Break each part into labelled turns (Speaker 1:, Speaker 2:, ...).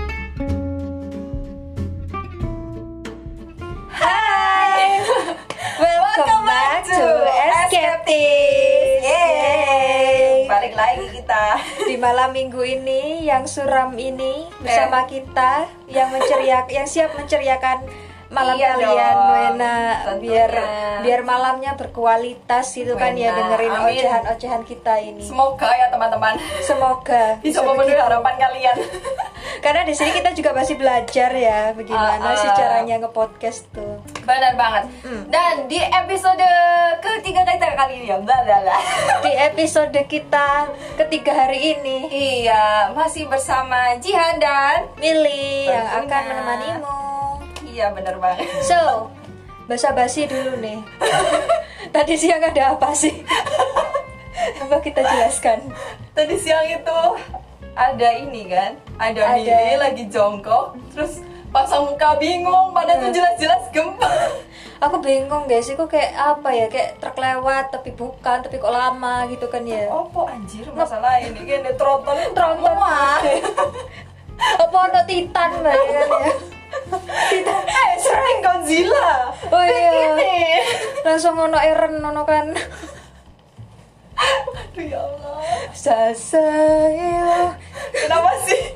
Speaker 1: malam minggu ini yang suram ini
Speaker 2: Eh.
Speaker 1: bersama kita yang menceriak yang siap menceriakan malam
Speaker 2: Iya
Speaker 1: kalian
Speaker 2: dong,
Speaker 1: Wena
Speaker 2: tentunya.
Speaker 1: biar biar malamnya berkualitas gitu kan ya
Speaker 2: Wena,
Speaker 1: dengerin
Speaker 2: amin.
Speaker 1: ocehan-ocehan kita ini
Speaker 2: Semoga ya teman-teman
Speaker 1: semoga
Speaker 2: bisa
Speaker 1: begitu.
Speaker 2: memenuhi harapan kalian.
Speaker 1: karena di sini kita juga masih belajar ya bagaimana
Speaker 2: Ah,
Speaker 1: sih
Speaker 2: ah.
Speaker 1: caranya nge-podcast tuh
Speaker 2: Benar banget. Dan di episode ketiga kita kali ini ya, bla bla bla.
Speaker 1: di episode kita ketiga hari ini
Speaker 2: Iya, masih bersama Jihan dan
Speaker 1: Mili yang
Speaker 2: Tentunya.
Speaker 1: akan menemanimu
Speaker 2: Iya benar banget.
Speaker 1: so basa basi dulu nih tadi siang ada apa sih coba kita jelaskan
Speaker 2: Tadi siang itu ada ini kan,
Speaker 1: Ada.
Speaker 2: ada, Billy lagi jongkok, terus pasang muka bingung, pada tuh jelas-jelas gempa.
Speaker 1: aku bingung guys kok kayak apa ya kayak truk lewat tapi bukan tapi kok lama gitu kan ya
Speaker 2: Opo anjir masalah ini kan tronton
Speaker 1: Tronton.
Speaker 2: muat.
Speaker 1: apa ono titan Mbak, ya kan ya
Speaker 2: eh sering Godzilla.
Speaker 1: oh iya
Speaker 2: Ini.
Speaker 1: langsung ono eren ono kan
Speaker 2: Aduh ya Allah.
Speaker 1: Sasayo
Speaker 2: Kenapa sih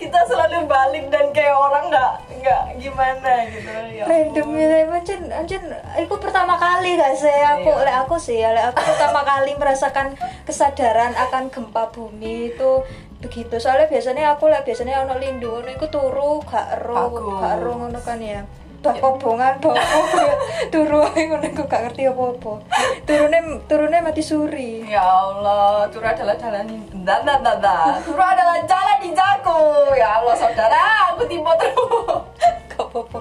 Speaker 2: kita selalu balik dan kayak orang nggak nggak gimana gitu ya.
Speaker 1: random ya macam macam aku pertama kali gak sih aku
Speaker 2: Iya.
Speaker 1: lek aku sih ya, lek aku pertama kali merasakan kesadaran akan gempa bumi itu begitu soalnya biasanya aku lek biasanya ono lindu ono iku turu gak ero
Speaker 2: Aku.
Speaker 1: gak ero ngono kan ya bakok bongan bakok turu ae ngono aku gak ngerti apa-apa turune turune mati suri
Speaker 2: Ya Allah, Tur adalah jalan yang bentar, bentar, bentar. Tur adalah jalan di jago. Ya Allah saudara, aku tipe terus.
Speaker 1: Gak apa-apa.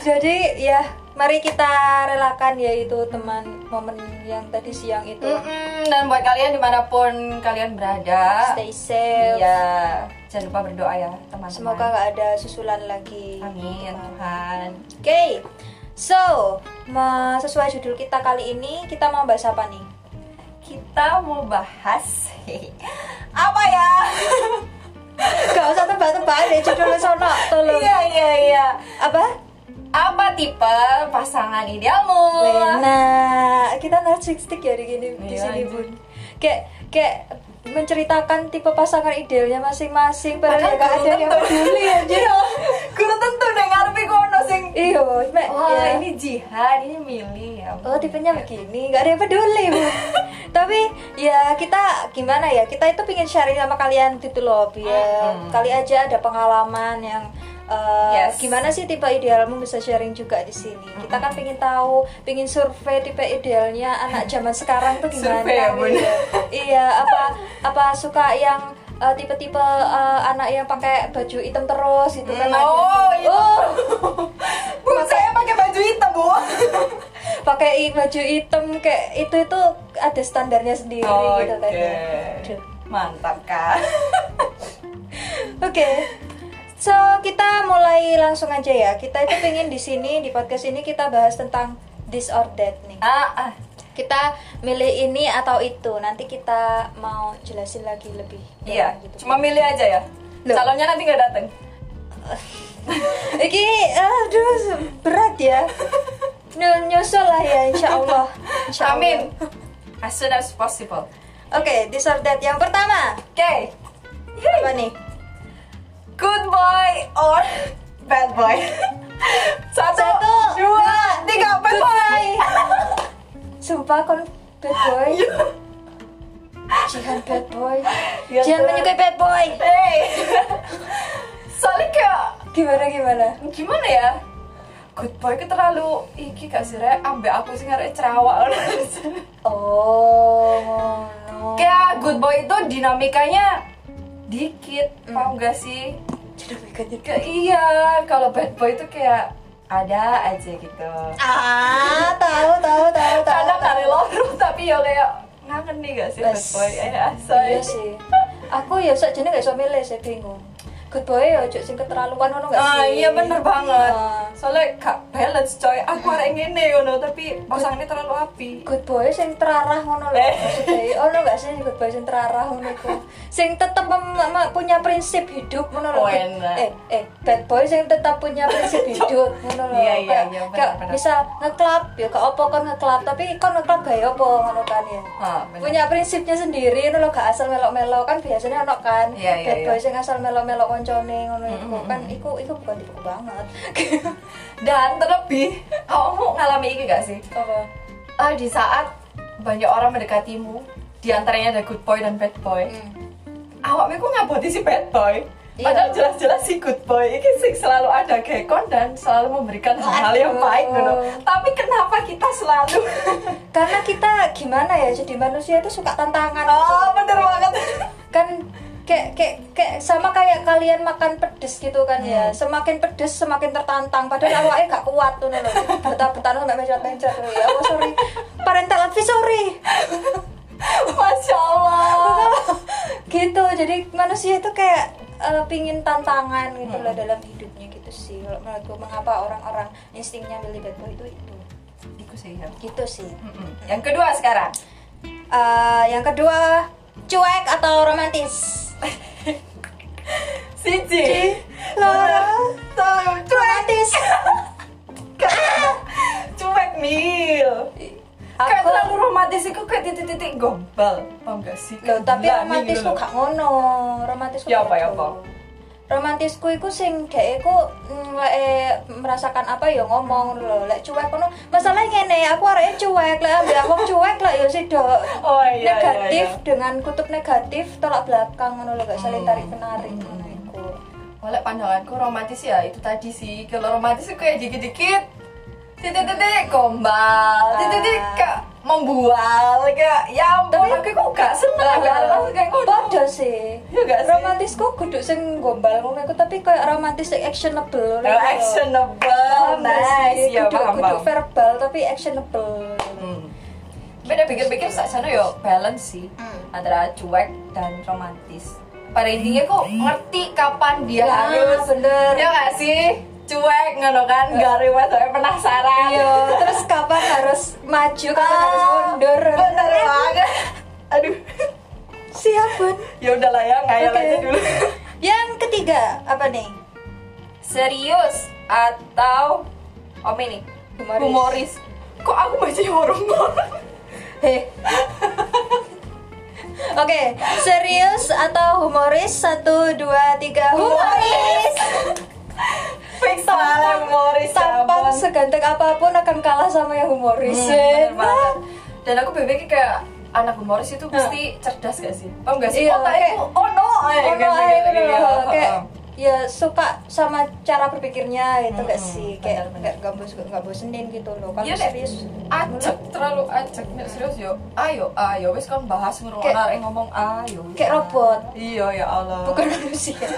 Speaker 1: Jadi ya mari kita relakan yaitu teman momen yang tadi siang itu.
Speaker 2: Mm-mm, dan buat kalian dimanapun kalian berada,
Speaker 1: Stay safe.
Speaker 2: ya jangan lupa berdoa ya teman-teman.
Speaker 1: Semoga gak ada susulan lagi. Ya
Speaker 2: Amin ya Tuhan.
Speaker 1: Oke. So, me- sesuai judul kita kali ini kita mau bahas apa nih?
Speaker 2: Kita mau bahas apa ya?
Speaker 1: Gak usah tebak-tebak deh judulnya sono, tolong.
Speaker 2: Iya iya iya.
Speaker 1: Apa?
Speaker 2: Apa tipe pasangan idealmu?
Speaker 1: Wena, kita narsistik ya di gini di
Speaker 2: Iya,
Speaker 1: sini
Speaker 2: anjir.
Speaker 1: bun. Kayak kayak menceritakan tipe pasangan idealnya masing-masing padahal
Speaker 2: Padahal
Speaker 1: gak ada
Speaker 2: belum
Speaker 1: yang
Speaker 2: tentu.
Speaker 1: peduli anjir.
Speaker 2: Iya. Guru tentu deh ngarepe kono sing.
Speaker 1: Iya, Mek.
Speaker 2: Wah,
Speaker 1: ya.
Speaker 2: ini Jihan, ini Mili ya.
Speaker 1: Oh tipenya begini, nggak ada yang peduli Bu. Tapi ya kita gimana ya, kita itu pingin sharing sama kalian gitu loh biar
Speaker 2: Mm-mm.
Speaker 1: kali aja ada pengalaman yang eh,
Speaker 2: Yes.
Speaker 1: gimana sih tipe idealmu bisa sharing juga di sini. Kita kan pingin tahu, pingin survei tipe idealnya anak zaman sekarang tuh gimana.
Speaker 2: Survei ya, Bun.
Speaker 1: gitu. iya apa apa suka yang eh, tipe-tipe eh, anak yang pakai baju hitam terus gitu kan.
Speaker 2: Oh, itu.
Speaker 1: Oh,
Speaker 2: Bu, saya pakai baju hitam, Bu.
Speaker 1: pakai i- baju hitam kayak itu itu ada standarnya sendiri
Speaker 2: Oh,
Speaker 1: gitu kan ya. Aduh.
Speaker 2: Mantap, Kak.
Speaker 1: Oke. So, kita mulai langsung aja ya. Kita itu pengen di sini di podcast ini kita bahas tentang this or that nih.
Speaker 2: Ah, ah.
Speaker 1: Kita milih ini atau itu. Nanti kita mau jelasin lagi lebih. dalam
Speaker 2: Iya,
Speaker 1: gitu.
Speaker 2: cuma milih aja ya.
Speaker 1: Loh.
Speaker 2: Calonnya nanti nggak datang.
Speaker 1: Iki aduh berat ya. Ny- Nyusul lah ya insya Allah. Insya Allah.
Speaker 2: Amin. As soon as possible.
Speaker 1: Oke, this or that yang pertama.
Speaker 2: Oke.
Speaker 1: Apa nih?
Speaker 2: good boy or bad boy? Satu,
Speaker 1: Satu,
Speaker 2: dua, tiga, bad boy.
Speaker 1: Sumpah kon bad boy.
Speaker 2: Iya.
Speaker 1: Jihan bad boy.
Speaker 2: Ya,
Speaker 1: Jihan
Speaker 2: Tuhan.
Speaker 1: menyukai bad boy.
Speaker 2: Hey, soalnya kayak
Speaker 1: Gimana gimana?
Speaker 2: gimana ya? Good boy itu terlalu iki gak sih Rek? Ambek aku sih ngarep cerawak
Speaker 1: Oh, ngono.
Speaker 2: Kayak good boy itu dinamikanya dikit, paham gak sih?
Speaker 1: Jadi mikirnya kayak-
Speaker 2: Kayak iya, kalau bad boy itu kayak ada aja gitu.
Speaker 1: Ah, tahu tahu tahu tahu.
Speaker 2: Kadang dari lorong tapi ya kayak ngangen nih gak sih bad
Speaker 1: Bas.
Speaker 2: boy? Eh,
Speaker 1: Iya
Speaker 2: asai.
Speaker 1: sih. Aku ya sakjane gak iso milih sih bingung. Good boy ya ojo sing keterlaluan ngono gak sih?
Speaker 2: Ah, iya Ah, bener banget.
Speaker 1: Ah.
Speaker 2: soalnya gak balance coy aku arek ngene ngono tapi pasangannya terlalu api
Speaker 1: good boy sing terarah ngono lho
Speaker 2: Eh.
Speaker 1: maksudnya Ya ono gak sih good boy sing terarah ngono iku sing tetep mem- mem- punya prinsip hidup ngono lho
Speaker 2: Oh, enak.
Speaker 1: eh eh bad boy sing tetep punya prinsip hidup ngono lho
Speaker 2: Iya, iya,
Speaker 1: Kayak
Speaker 2: iya, bener,
Speaker 1: gak
Speaker 2: bener.
Speaker 1: bisa ngeklub ya gak apa kon ngeklub tapi kon ngeklub gaya apa ngono kan ya
Speaker 2: Ah, bener.
Speaker 1: punya prinsipnya sendiri ngono lho gak asal melok-melok kan biasanya ono kan
Speaker 2: Iya, iya,
Speaker 1: bad
Speaker 2: iya.
Speaker 1: boy sing asal melok-melok koncone ngono iku kan iku iku bukan tipe banget
Speaker 2: dan terlebih kamu ngalami ini gak sih
Speaker 1: apa
Speaker 2: Ah, di saat banyak orang mendekatimu di antaranya ada good boy dan bad boy
Speaker 1: Hmm.
Speaker 2: awakmu kok ngaboti si bad boy
Speaker 1: Iya.
Speaker 2: padahal jelas-jelas si good boy ini sih selalu ada gekon dan selalu memberikan hal-hal yang
Speaker 1: Aduh.
Speaker 2: baik ngono. tapi kenapa kita selalu
Speaker 1: karena kita gimana ya jadi manusia itu suka tantangan gitu.
Speaker 2: oh bener banget
Speaker 1: kan kayak kayak kayak sama kayak kalian makan pedes gitu kan ya
Speaker 2: Hmm.
Speaker 1: semakin pedes semakin tertantang padahal awalnya gak kuat tuh loh betah betah sampai mencret mencret tuh ya oh sorry parental advisory
Speaker 2: masya allah
Speaker 1: gitu jadi manusia itu kayak eh, pingin tantangan gitu
Speaker 2: Hmm.
Speaker 1: loh dalam hidupnya gitu sih Kalau menurutku mengapa orang-orang instingnya milih bad boy itu itu
Speaker 2: itu sih ya
Speaker 1: gitu sih
Speaker 2: Mm-mm. yang kedua sekarang
Speaker 1: Eh, yang kedua cuek atau romantis
Speaker 2: siji
Speaker 1: Loro.
Speaker 2: Tuh,
Speaker 1: romantis
Speaker 2: cuek mil kayak
Speaker 1: Aku-
Speaker 2: terlalu romantis itu kayak titik-titik gombal paham gak sih
Speaker 1: Loh, tapi
Speaker 2: Gila nih,
Speaker 1: romantisku
Speaker 2: gitu loh.
Speaker 1: gak ngono. Romantisku
Speaker 2: Ya apa,
Speaker 1: beda.
Speaker 2: ya apa?
Speaker 1: Romantisku iku sing dhek iku mm, lek e merasakan apa ya ngomong lho. Lek cuek ngono, masalahnya ngene, aku areke cuek, lek ambek wong cuek lek ya sido
Speaker 2: oh iya
Speaker 1: negatif
Speaker 2: iya, iya.
Speaker 1: dengan kutub negatif tolak belakang ngono lho gak saling
Speaker 2: Hmm.
Speaker 1: tarik menarik ngono iku.
Speaker 2: oleh pandanganku romantis ya itu tadi sih kalau romantis itu kayak dikit-dikit titik-titik gombal titik-titik kayak membual kayak ya ampun
Speaker 1: Tapi-
Speaker 2: tapi aku gak seneng gak langsung kayak ngono
Speaker 1: Bodoh sih.
Speaker 2: Iya gak sih?
Speaker 1: Romantisku kudu sing gombal ngono iku tapi kayak romantis sing actionable. Iya,
Speaker 2: Oh, actionable
Speaker 1: Paham gak
Speaker 2: nice
Speaker 1: sih?
Speaker 2: ya
Speaker 1: Kudu-
Speaker 2: paham
Speaker 1: kudu
Speaker 2: paham
Speaker 1: verbal tapi actionable.
Speaker 2: Hmm. Tapi udah pikir-pikir saat sana yo balance sih
Speaker 1: Hmm.
Speaker 2: antara cuek dan romantis. Pada intinya kok ngerti kapan dia
Speaker 1: Ya,
Speaker 2: harus
Speaker 1: bener.
Speaker 2: Ya gak sih? Cuek ngono kan gak ribet saya penasaran.
Speaker 1: Iya, terus kapan harus maju, kapan harus
Speaker 2: Ah,
Speaker 1: mundur? Iya.
Speaker 2: Bener
Speaker 1: ya.
Speaker 2: banget. Aduh.
Speaker 1: Siap, Bun.
Speaker 2: Ya udahlah ya ngayal
Speaker 1: Oke.
Speaker 2: aja dulu.
Speaker 1: Yang ketiga, apa nih?
Speaker 2: Serius atau om ini
Speaker 1: Humoris.
Speaker 2: humoris. Kok aku masih horor?
Speaker 1: Heh. Oke, serius atau humoris? Satu, dua, tiga, humoris!
Speaker 2: Fix soalnya humoris. ya
Speaker 1: Tampang
Speaker 2: ampun. Hmm,
Speaker 1: seganteng apapun akan kalah sama yang humoris. Eh,
Speaker 2: Bener banget. Dan aku bebeknya kayak anak humoris itu mesti cerdas gak sih? Paham gak sih?
Speaker 1: Iya,
Speaker 2: Otaknya
Speaker 1: kayak-
Speaker 2: tuh, oh no, eh,
Speaker 1: Oh,
Speaker 2: gitu,
Speaker 1: no, ayo,
Speaker 2: gitu,
Speaker 1: bener
Speaker 2: iya,
Speaker 1: loh.
Speaker 2: heeh.
Speaker 1: kayak ya suka sama cara berpikirnya itu gak
Speaker 2: Mm-mm,
Speaker 1: sih kayak
Speaker 2: bener-bener.
Speaker 1: nggak nggak bos nggak bosenin gitu loh kalau
Speaker 2: Iya, Dek.
Speaker 1: serius
Speaker 2: ajak terlalu ajak Nek, serius yo ayo ayo wis kan bahas ngurung
Speaker 1: Kayak-
Speaker 2: anak yang ngomong ayo wis,
Speaker 1: kayak
Speaker 2: ah.
Speaker 1: robot.
Speaker 2: iya ya Allah
Speaker 1: bukan manusia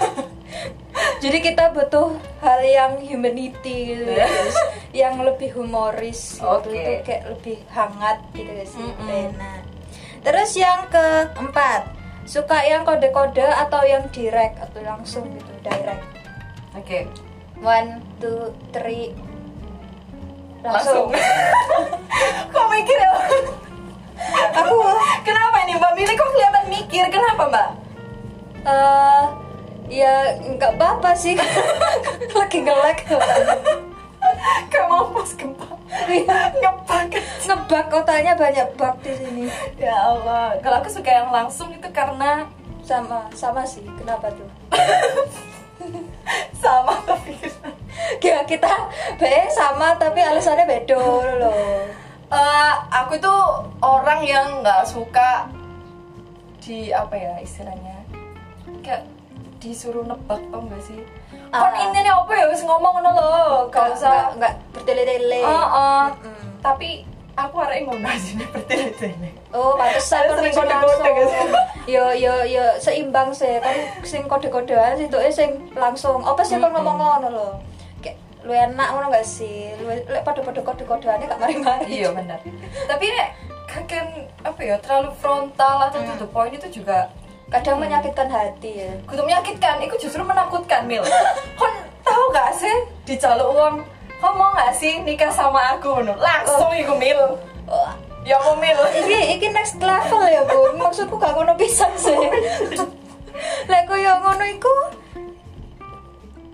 Speaker 1: jadi kita butuh hal yang humanity gitu
Speaker 2: Iya.
Speaker 1: guys yang lebih humoris gitu
Speaker 2: Oke.
Speaker 1: itu kayak lebih hangat gitu guys
Speaker 2: Mm-mm.
Speaker 1: enak terus yang keempat suka yang kode-kode atau yang direct atau langsung gitu direct
Speaker 2: oke
Speaker 1: one two three
Speaker 2: langsung,
Speaker 1: langsung,
Speaker 2: kok mikir ya
Speaker 1: aku
Speaker 2: kenapa ini mbak Mili kok kelihatan mikir kenapa mbak
Speaker 1: eh ya nggak apa-apa sih lagi ngelek
Speaker 2: kayak mau pas gempa
Speaker 1: Iya.
Speaker 2: ngepak
Speaker 1: ngebak otaknya banyak bug di sini
Speaker 2: ya Allah kalau aku suka yang langsung itu karena
Speaker 1: sama sama sih kenapa tuh
Speaker 2: sama kepikiran
Speaker 1: ya kita be sama tapi alasannya bedo loh
Speaker 2: Eh, aku tuh orang yang nggak suka di apa ya istilahnya kayak disuruh nebak paham gak sih
Speaker 1: Ah.
Speaker 2: kan ini nih apa ya wis ngomong ngono lo gak
Speaker 1: nggak-
Speaker 2: usah
Speaker 1: nggak bertele-tele
Speaker 2: Eh, eh.
Speaker 1: Mm-mm.
Speaker 2: tapi aku arek ngono aja nih bertele-tele
Speaker 1: oh pantesan kan
Speaker 2: Saya sering
Speaker 1: minggu
Speaker 2: kode-kode
Speaker 1: langsung
Speaker 2: gitu.
Speaker 1: yo yo yo seimbang sih kan sing kode-kodean sih tuh eh, sing langsung apa sih kan ngomong ngono loh kayak lu enak ngono gak sih lu lu pada-pada kode-kodeannya gak mari-mari
Speaker 2: iya benar tapi nek kaken apa ya terlalu frontal
Speaker 1: Hmm.
Speaker 2: atau to the point itu juga
Speaker 1: kadang menyakitkan hati ya
Speaker 2: kudu menyakitkan itu justru menakutkan mil kon tahu gak sih dijaluk uang kamu mau nggak sih nikah sama aku Ngono. langsung iku mil ya mau mil
Speaker 1: Oh, Iki iki next level ya, Bu. Maksudku gak ngono pisan sih. Lek koyo ngono iku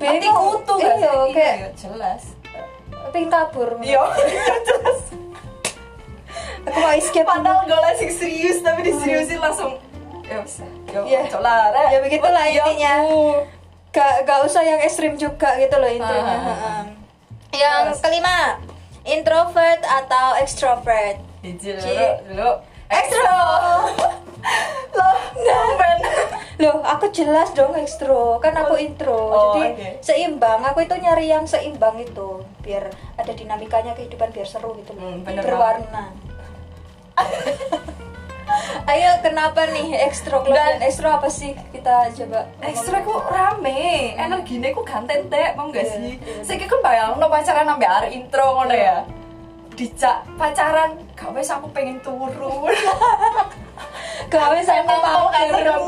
Speaker 2: nanti kutu gak sih
Speaker 1: Iya,
Speaker 2: Iya,
Speaker 1: kayak
Speaker 2: jelas
Speaker 1: ping kabur.
Speaker 2: iya jelas
Speaker 1: Aku mau escape.
Speaker 2: padahal gue langsung serius tapi diseriusin langsung ya bisa
Speaker 1: Iya.
Speaker 2: ya cok lah Rek.
Speaker 1: Ya begitulah
Speaker 2: Ya
Speaker 1: intinya.
Speaker 2: ampun.
Speaker 1: Gak gak usah yang ekstrim juga gitu loh intinya.
Speaker 2: Ah.
Speaker 1: Heeh. Yang
Speaker 2: Terus.
Speaker 1: kelima, introvert atau extrovert.
Speaker 2: Jijik
Speaker 1: Ci.
Speaker 2: dulu dulu
Speaker 1: Extra.
Speaker 2: loh
Speaker 1: Nah.
Speaker 2: nyampen
Speaker 1: Loh, aku jelas dong ekstro, kan aku intro.
Speaker 2: Oh,
Speaker 1: jadi
Speaker 2: oke.
Speaker 1: seimbang. Aku itu nyari yang seimbang itu, biar ada dinamikanya kehidupan biar seru gitu loh.
Speaker 2: Hmm, bener
Speaker 1: Berwarna. Ayo, kenapa nih ekstro klub dan
Speaker 2: Dan-
Speaker 1: ekstro apa sih kita coba?
Speaker 2: ekstra ku rame energinya ku ganten teh mau gak
Speaker 1: Iya,
Speaker 2: sih
Speaker 1: iya.
Speaker 2: saya kan bayang no pacaran sampai hari intro ngono ya dijak pacaran gak wes aku pengen turun
Speaker 1: Gawe aku
Speaker 2: Emang mau kan serem.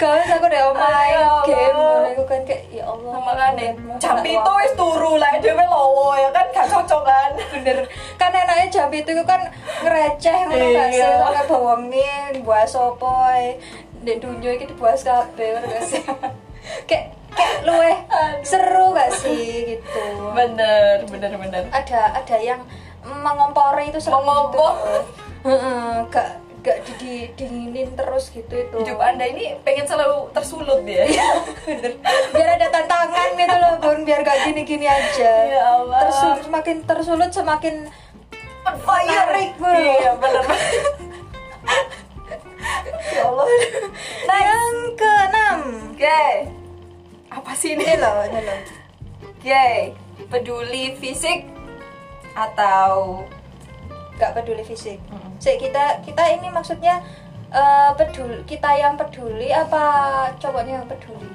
Speaker 1: Gawe aku deh oh my
Speaker 2: Ayo,
Speaker 1: game.
Speaker 2: Allah.
Speaker 1: Aku kan kayak ya Allah.
Speaker 2: makanya kan jam
Speaker 1: Gak
Speaker 2: itu wes turu lah dia lowo ya kan gak cocok kan bener
Speaker 1: kan enaknya jam itu kan ngereceh ngono gak sih
Speaker 2: Iya.
Speaker 1: sampai bawa mie buah sopoi di dunia ini dibuat kabeh ngono gak sih kayak kayak luwe
Speaker 2: Aduh.
Speaker 1: seru gak sih gitu
Speaker 2: bener bener bener
Speaker 1: ada ada yang mengompori itu seru
Speaker 2: Mengompor.
Speaker 1: gitu. Heeh, gak gak di, di, dinginin terus gitu itu
Speaker 2: hidup anda ini pengen selalu tersulut ya
Speaker 1: Iya. Bener. biar ada tantangan gitu loh bun biar gak gini-gini aja
Speaker 2: Ya Allah.
Speaker 1: tersulut semakin tersulut semakin
Speaker 2: on fire
Speaker 1: Menarik, Bu.
Speaker 2: iya bener ya Allah
Speaker 1: nah yang keenam
Speaker 2: gay apa sih ini
Speaker 1: ini Iya loh ini loh
Speaker 2: gay peduli fisik atau
Speaker 1: nggak peduli fisik Sik, kita kita ini maksudnya eh, peduli kita yang peduli apa cowoknya yang peduli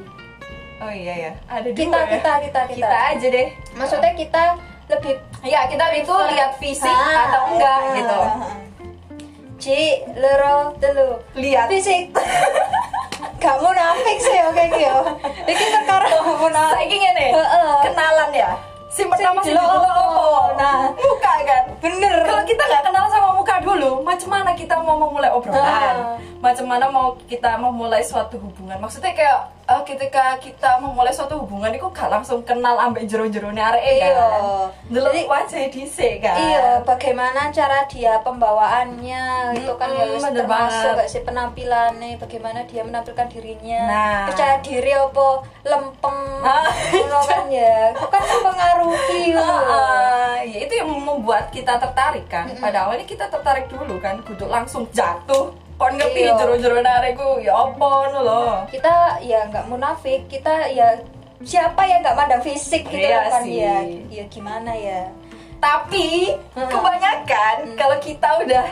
Speaker 2: oh iya ya ada dua
Speaker 1: kita
Speaker 2: ya?
Speaker 1: kita kita
Speaker 2: kita
Speaker 1: kita
Speaker 2: aja deh
Speaker 1: maksudnya kita lebih
Speaker 2: ya kita itu lihat fisik
Speaker 1: Ah,
Speaker 2: atau enggak
Speaker 1: ah,
Speaker 2: gitu
Speaker 1: ah, ah. Ci, loro, telu
Speaker 2: Lihat.
Speaker 1: Fisik Gak mau nafik sih ya kayak gitu Ini perkara gak mau
Speaker 2: saya
Speaker 1: nafik
Speaker 2: ingin nih
Speaker 1: Heeh.
Speaker 2: kenalan ya oh, si pertama
Speaker 1: Si
Speaker 2: sih
Speaker 1: jelek.
Speaker 2: dulu
Speaker 1: Nah.
Speaker 2: muka kan
Speaker 1: Bener
Speaker 2: kalau kita nggak kenal sama muka dulu macam mana kita mau memulai
Speaker 1: Ah.
Speaker 2: obrolan macam mana mau kita memulai suatu hubungan maksudnya kayak eh, ketika kita memulai suatu hubungan itu gak langsung kenal ambek jero-jerone arek kan
Speaker 1: Iya.
Speaker 2: delok
Speaker 1: Jadi-
Speaker 2: wajah dhisik kan
Speaker 1: Iya, bagaimana cara dia pembawaannya itu kan
Speaker 2: Mm-mm,
Speaker 1: harus
Speaker 2: bener
Speaker 1: termasuk
Speaker 2: banget.
Speaker 1: gak sih penampilannya, bagaimana dia menampilkan dirinya,
Speaker 2: Nah.
Speaker 1: percaya diri apa lempeng,
Speaker 2: Ah,
Speaker 1: ngono kan ya, itu kan mempengaruhi gitu loh.
Speaker 2: Heeh, Ah, ya itu yang membuat kita tertarik kan pada awalnya kita tertarik dulu kan kudu langsung jatuh kon ngerti
Speaker 1: Iya.
Speaker 2: jero-jerone arekku ya apa ngono lho
Speaker 1: Kita ya nggak munafik, kita ya siapa yang nggak mandang fisik gitu
Speaker 2: Iya
Speaker 1: kan
Speaker 2: sih.
Speaker 1: ya, ya gimana ya?
Speaker 2: tapi
Speaker 1: Hmm.
Speaker 2: kebanyakan kalau kita udah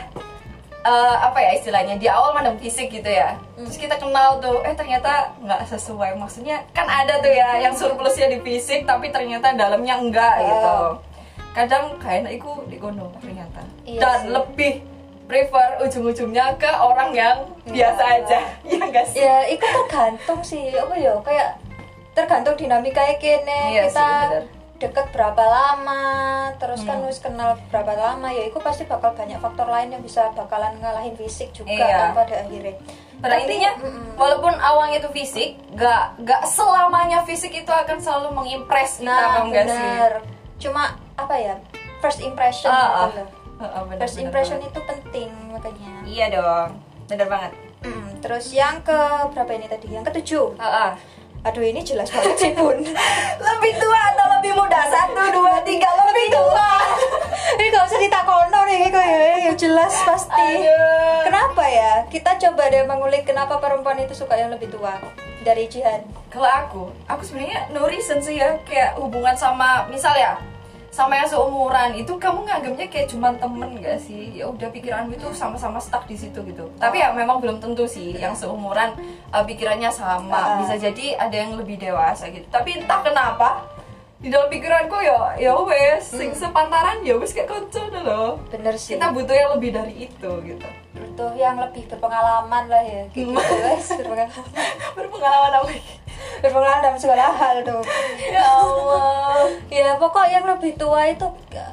Speaker 2: eh, apa ya istilahnya di awal mandang fisik gitu ya
Speaker 1: Hmm.
Speaker 2: terus kita kenal tuh eh ternyata nggak sesuai maksudnya kan ada tuh ya yang
Speaker 1: Hmm.
Speaker 2: surplusnya di fisik tapi ternyata dalamnya
Speaker 1: Oh.
Speaker 2: enggak gitu kadang kayak enak iku di kono ternyata
Speaker 1: Iya
Speaker 2: dan
Speaker 1: sih.
Speaker 2: lebih prefer ujung-ujungnya ke orang yang
Speaker 1: Iya.
Speaker 2: biasa
Speaker 1: Enggak.
Speaker 2: aja ya enggak sih
Speaker 1: Ya, itu tergantung sih, apa ya kayak tergantung dinamika ya, kene
Speaker 2: Iya sih,
Speaker 1: kita
Speaker 2: bener. Hmm.
Speaker 1: deket berapa lama, terus kan wis kenal berapa lama, ya itu pasti bakal banyak faktor lain yang bisa bakalan ngalahin fisik juga kan
Speaker 2: Iya.
Speaker 1: pada akhirnya.
Speaker 2: Pada
Speaker 1: Tapi,
Speaker 2: Nah, intinya,
Speaker 1: mm-mm.
Speaker 2: walaupun awang itu fisik, gak gak selamanya fisik itu akan selalu mengimpress kita,
Speaker 1: nah
Speaker 2: paham gak sih?
Speaker 1: bener, cuma apa ya first impression
Speaker 2: Ah, ah.
Speaker 1: gitu loh.
Speaker 2: Heeh, bener,
Speaker 1: First
Speaker 2: bener
Speaker 1: impression
Speaker 2: banget.
Speaker 1: itu penting makanya.
Speaker 2: Iya dong, bener banget.
Speaker 1: Mm, terus yang ke berapa ini tadi? Yang ketujuh.
Speaker 2: Heeh.
Speaker 1: Aduh ini jelas banget sih bun.
Speaker 2: ah. Lebih tua atau lebih muda? Satu, dua, tiga, lebih tua.
Speaker 1: ini gak usah ditakono nih kayak ya jelas pasti
Speaker 2: Aduh.
Speaker 1: kenapa ya kita coba deh mengulik kenapa perempuan itu suka yang lebih tua dari Jihan
Speaker 2: Kalau aku, aku sebenarnya no reason sih ya, kayak hubungan sama misal ya, sama yang seumuran itu kamu nganggapnya kayak cuman temen gak sih? Ya udah pikiranmu itu sama-sama stuck di situ gitu. Tapi ya memang belum tentu sih yang seumuran eh, pikirannya
Speaker 1: Ah.
Speaker 2: sama. Bisa jadi ada yang lebih dewasa gitu. Tapi entah kenapa di dalam pikiranku ya ya wes sing sepantaran ya wes kayak konco dah loh.
Speaker 1: bener sih
Speaker 2: Kita butuh yang lebih dari itu gitu. Hmm.
Speaker 1: butuh yang lebih berpengalaman lah ya kayak gitu guys berpengalaman
Speaker 2: Berpengalaman apa?
Speaker 1: berpengalaman dalam segala hal dong
Speaker 2: ya Allah
Speaker 1: ya pokok yang lebih tua itu